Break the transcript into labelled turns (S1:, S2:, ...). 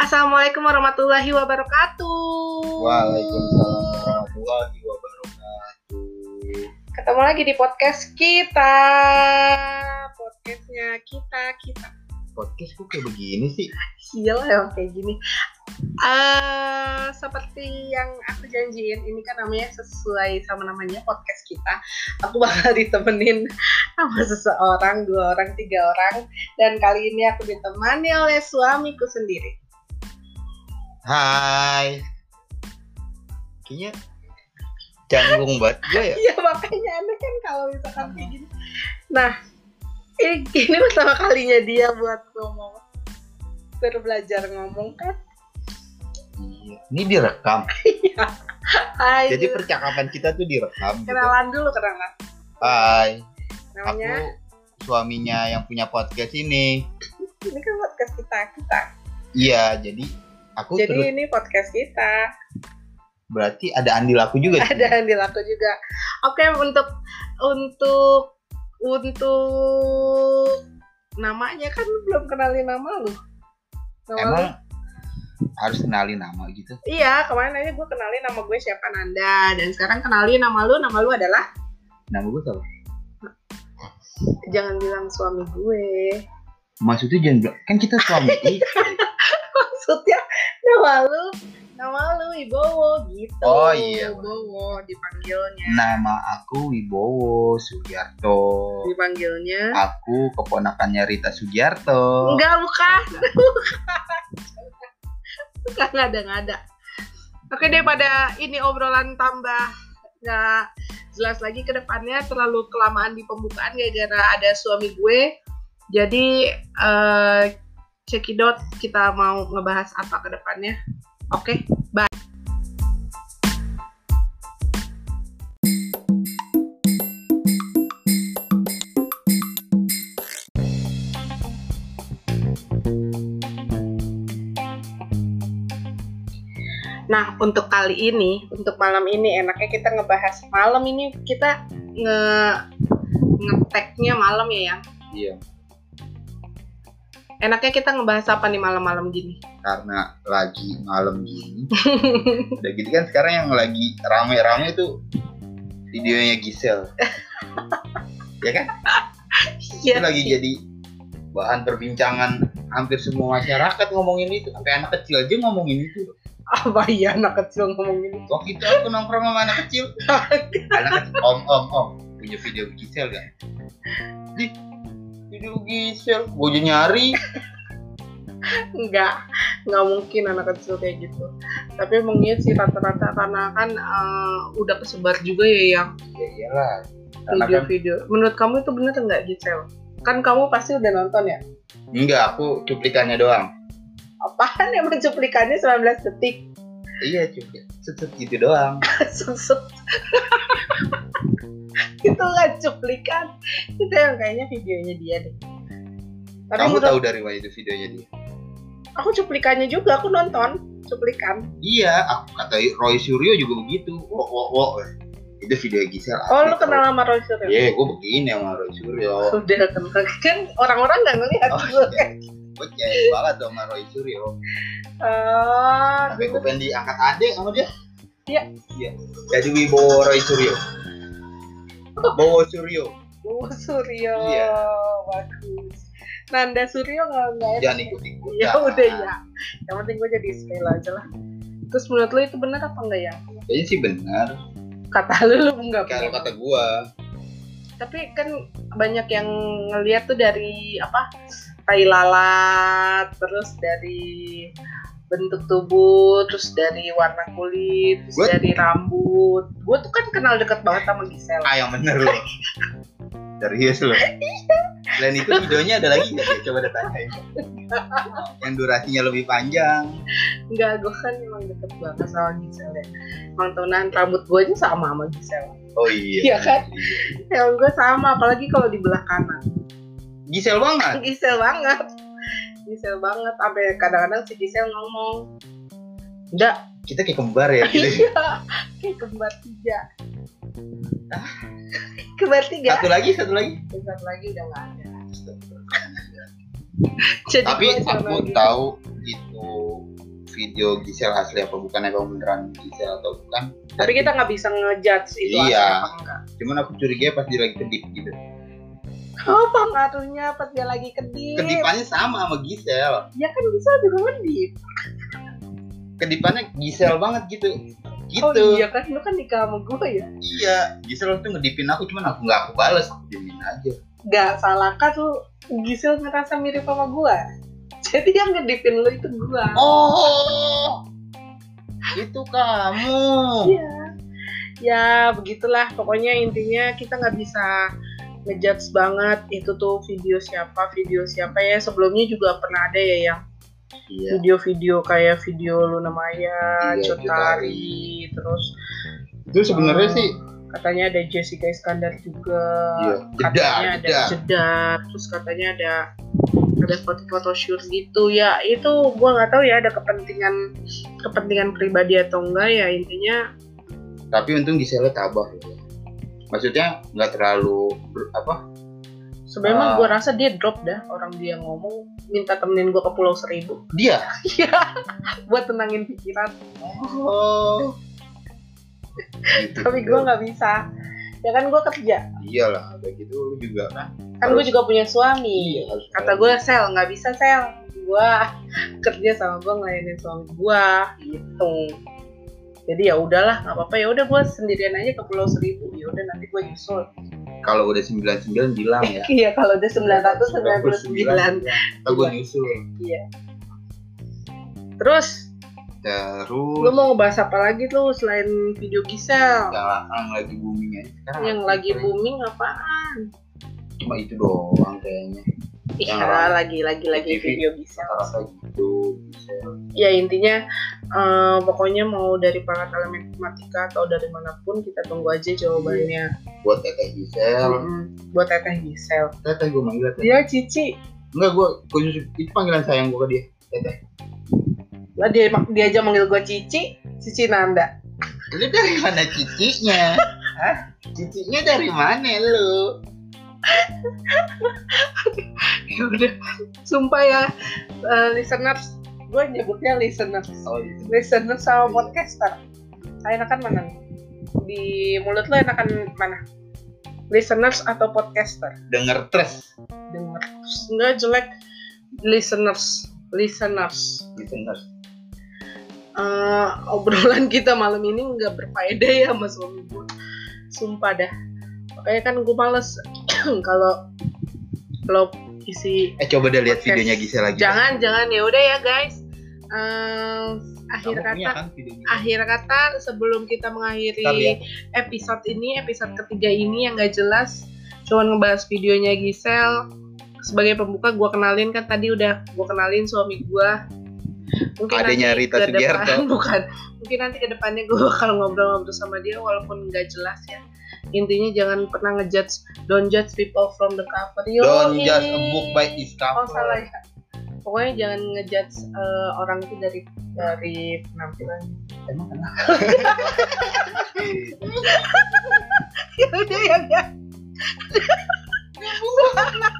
S1: Assalamualaikum warahmatullahi wabarakatuh.
S2: Waalaikumsalam warahmatullahi wabarakatuh.
S1: Ketemu lagi di podcast kita. Podcastnya kita, kita.
S2: Podcast kok kayak begini sih?
S1: Gila ya kayak gini. Eh, seperti yang aku janjiin, ini kan namanya sesuai sama namanya podcast kita. Aku bakal ditemenin sama seseorang, dua orang, tiga orang. Dan kali ini aku ditemani oleh suamiku sendiri.
S2: Hai. Kayaknya canggung banget gue ya.
S1: Iya makanya aneh kan kalau misalkan kayak gini. Nah, ini, ini pertama kalinya dia buat ngomong. Baru belajar ngomong kan.
S2: Iya. Ini direkam.
S1: Hai.
S2: Jadi percakapan kita tuh direkam. Gitu.
S1: kenalan dulu kenalan.
S2: Hai. Aku
S1: Namanya
S2: suaminya yang punya podcast ini.
S1: ini kan podcast kita kita.
S2: Iya, jadi aku
S1: Jadi
S2: terus
S1: ini podcast kita.
S2: berarti ada andil aku juga. sih.
S1: Ada yang dilaku juga. Oke untuk untuk untuk namanya kan lu belum kenalin nama lu. Nama lu
S2: Emang harus kenalin nama gitu.
S1: Iya, kemarin aja gue kenalin nama gue siapa Nanda dan sekarang kenalin nama lu, nama lu adalah
S2: Nama gue siapa?
S1: jangan bilang suami gue.
S2: Maksudnya jangan bilang- kan kita suami istri.
S1: Maksudnya nama lu, nama lu Ibowo gitu.
S2: Oh, iya.
S1: Ibowo dipanggilnya.
S2: Nama aku Wibowo Sugiarto.
S1: Dipanggilnya.
S2: Aku keponakannya Rita Sugiarto.
S1: Enggak, bukan. Bukan ngada-ngada. Oke deh pada ini obrolan tambah nggak jelas lagi ke depannya terlalu kelamaan di pembukaan gara-gara ada suami gue. Jadi eh, cekidot kita mau ngebahas apa ke depannya. Oke, bye. Nah, untuk kali ini, untuk malam ini enaknya kita ngebahas malam ini kita nge ngeteknya malam ya yang.
S2: Iya,
S1: Enaknya kita ngebahas apa nih malam-malam gini?
S2: karena lagi malam gini. Udah gitu kan sekarang yang lagi rame-rame tuh videonya Gisel. ya kan? Itu
S1: Iya
S2: lagi
S1: sih.
S2: jadi bahan perbincangan hampir semua masyarakat ngomongin itu. Sampai anak kecil aja ngomongin itu.
S1: apa iya anak kecil ngomong gini
S2: Waktu itu aku nongkrong sama anak kecil. anak kecil, om, om, om. Punya video Gisel gak? Di, video Gisel. Gue aja nyari.
S1: enggak nggak mungkin anak kecil kayak gitu tapi emang iya sih rata-rata karena kan eh, udah kesebar juga ya yang
S2: Ya iyalah. Karena kan
S1: video-video menurut kamu itu bener nggak Gisel kan kamu pasti udah nonton ya
S2: kan Enggak, aku cuplikannya doang.
S1: apaan emang cuplikannya 19 detik
S2: Iya, cuplik. Set-set gitu doang.
S1: susut itu nggak cuplikan itu yang kayaknya videonya dia deh tapi
S2: Kamu
S1: menurut
S2: tahu dari mana itu videonya dia?
S1: aku cuplikannya juga aku nonton cuplikan
S2: Iya, aku kata Roy Suryo juga begitu. Wo, wo, wo. Itu video Gisel.
S1: oh
S2: asli,
S1: lu kenal sama Roy Suryo?
S2: Iya, gue begini sama Roy Suryo.
S1: Udah kenal kan orang-orang nggak ngeliat
S2: Oh,
S1: gue.
S2: iya. Gue jahil banget dong sama Roy Suryo.
S1: Oh,
S2: Sampai gue pengen diangkat adek sama dia.
S1: Iya.
S2: Iya. Jadi Wibowo Roy Suryo. Bowo Suryo.
S1: Bu gitu. Oh, Suryo,
S2: Iya.
S1: bagus. Nanda Suryo nggak nggak
S2: Jangan ikut-ikut.
S1: Ya udah ya. Yang penting gue jadi spell aja lah. Terus menurut lo itu benar apa enggak ya?
S2: Kayaknya sih benar.
S1: Kata lu lu enggak
S2: Kalau
S1: benar.
S2: kata gue,
S1: Tapi kan banyak yang ngeliat tuh dari apa? Tai lalat, terus dari bentuk tubuh, terus dari warna kulit, terus
S2: Gua-
S1: dari rambut. Gue tuh kan kenal deket banget sama Gisela.
S2: ah yang bener loh serius loh selain itu videonya ada lagi nggak ya? coba ditanyain yang durasinya lebih panjang
S1: Enggak, gue kan emang deket banget sama Gisel ya. Emang tunan rambut gue aja sama sama Gisel.
S2: oh iya
S1: Iya kan? Yang gue sama, apalagi kalau di belah kanan.
S2: Gisel banget
S1: Gisel banget. Gisel banget, sampai kadang-kadang si Gisel ngomong. Enggak,
S2: kita kayak kembar ya gitu.
S1: iya. Kayak kembar tiga. Ah. Kembar tiga.
S2: satu lagi satu lagi
S1: Bentar lagi udah gak ada. Jadi
S2: tapi
S1: gua sama
S2: aku
S1: dia.
S2: tahu itu video Gisel asli apa bukan emang beneran Gisel atau bukan
S1: Tapi kita nggak bisa ngejudge itu asli
S2: Iya.
S1: apa enggak.
S2: cuman aku curiga pas dia lagi kedip gitu
S1: Iya. Oh pengaruhnya pas dia lagi kedip.
S2: kedipannya sama sama Gisel
S1: Ya kan bisa juga ngedip.
S2: kedipannya Gisel banget gitu gitu
S1: Oh iya kan lu kan nikah sama gue ya.
S2: Iya, Gisel tuh ngedipin aku cuman aku nggak aku balas aku diemin aja
S1: Gak salah kan lu Gisel ngerasa mirip sama gue. Jadi yang ngedipin lu itu gue.
S2: oh itu kamu
S1: Iya. Ya begitulah pokoknya intinya kita nggak bisa ngejudge banget itu tuh video siapa video siapa ya sebelumnya juga pernah ada ya yang
S2: iya
S1: video-video kayak video Luna Maya,
S2: Iya,
S1: Cut
S2: Cut
S1: Tari, terus
S2: itu sebenarnya
S1: eh,
S2: sih
S1: katanya ada Jessica Iskandar juga
S2: Iya, jedar,
S1: katanya ada
S2: jedar.
S1: jedar terus katanya ada ada foto-foto shoot gitu ya itu gua nggak tahu ya ada kepentingan kepentingan pribadi atau enggak ya intinya
S2: tapi untung Giselnya tabah gitu. maksudnya nggak terlalu ber- apa
S1: Sebenarnya
S2: Ah.
S1: gue rasa dia drop dah orang dia ngomong minta temenin gue ke Pulau Seribu.
S2: dia
S1: Iya, buat tenangin pikiran.
S2: oh gitu
S1: Tapi gue nggak bisa. Ya kan gue kerja,
S2: iyalah udah gitu lu juga kan Iya,
S1: kan gue juga punya suami.
S2: harus
S1: Iya.
S2: gitu.
S1: Kata gue sel nggak bisa sel. Gue kerja sama gue ngelayanin suami gue gitu. Jadi ya udahlah nggak apa-apa ya udah gue sendirian aja ke Pulau Seribu ya udah nanti gue nyusul.
S2: kalau udah 99 bilang ya
S1: Iya kalau udah 999
S2: Atau gue nyusul
S1: Terus
S2: terus
S1: lu mau ngebahas apa lagi tuh selain video Gisel?
S2: jalanan lagi booming aja sekarang
S1: yang lagi
S2: ya.
S1: booming apaan?
S2: cuma itu doang kayaknya
S1: Iya,
S2: Yang-
S1: lagi lagi lagi
S2: TV.
S1: video bisa.
S2: rata-rata gitu Gisel.
S1: Ya intinya eh, pokoknya mau dari perangkat elemen matematika atau dari manapun kita tunggu aja jawabannya.
S2: buat teteh Gisel
S1: Mm-mm. Buat Teteh Gisel.
S2: teteh gue manggil teteh
S1: Dia Cici.
S2: enggak gue itu panggilan sayang gue ke dia teteh
S1: Lah dia dia aja manggil gue Cici, Cici Nanda.
S2: lu dari mana cicinya Hah? cicinya dari mana lu
S1: Ya udah, sumpah ya eh, listeners, gue nyebutnya listeners.
S2: oh gitu
S1: Listeners sama podcaster. Nah, enakan mana nih? Di mulut lo enakan mana? Listeners atau podcaster?
S2: denger tres
S1: dengar nggak jelek listeners listeners
S2: listener
S1: Eh, obrolan kita malam ini nggak berfaedah ya mas suami gue sumpah dah makanya kan gue males kalau kalau isi
S2: eh coba deh lihat
S1: Podcast.
S2: videonya Gisel lagi
S1: jangan jangan ya udah ya guys Eh, akhir
S2: Kamu punya
S1: kata
S2: kan videonya?
S1: akhir kata sebelum kita mengakhiri
S2: Ntar lihat.
S1: episode ini episode ketiga ini yang gak jelas cuman ngebahas videonya Gisel sebagai pembuka gua kenalin kan tadi udah gua kenalin suami gua mungkin
S2: Adanya
S1: nanti
S2: Rita
S1: ke depan-
S2: Sugiarto.
S1: bukan mungkin nanti kedepannya gua bakal ngobrol-ngobrol sama dia walaupun nggak jelas ya intinya jangan pernah ngejudge don't judge people from the cover Yoi.
S2: don't judge a book by its cover
S1: Oh salah ya. Pokoknya jangan ngejudge eh, orang itu dari dari penampilan.
S2: Emang kenapa?
S1: ya udah ya udah.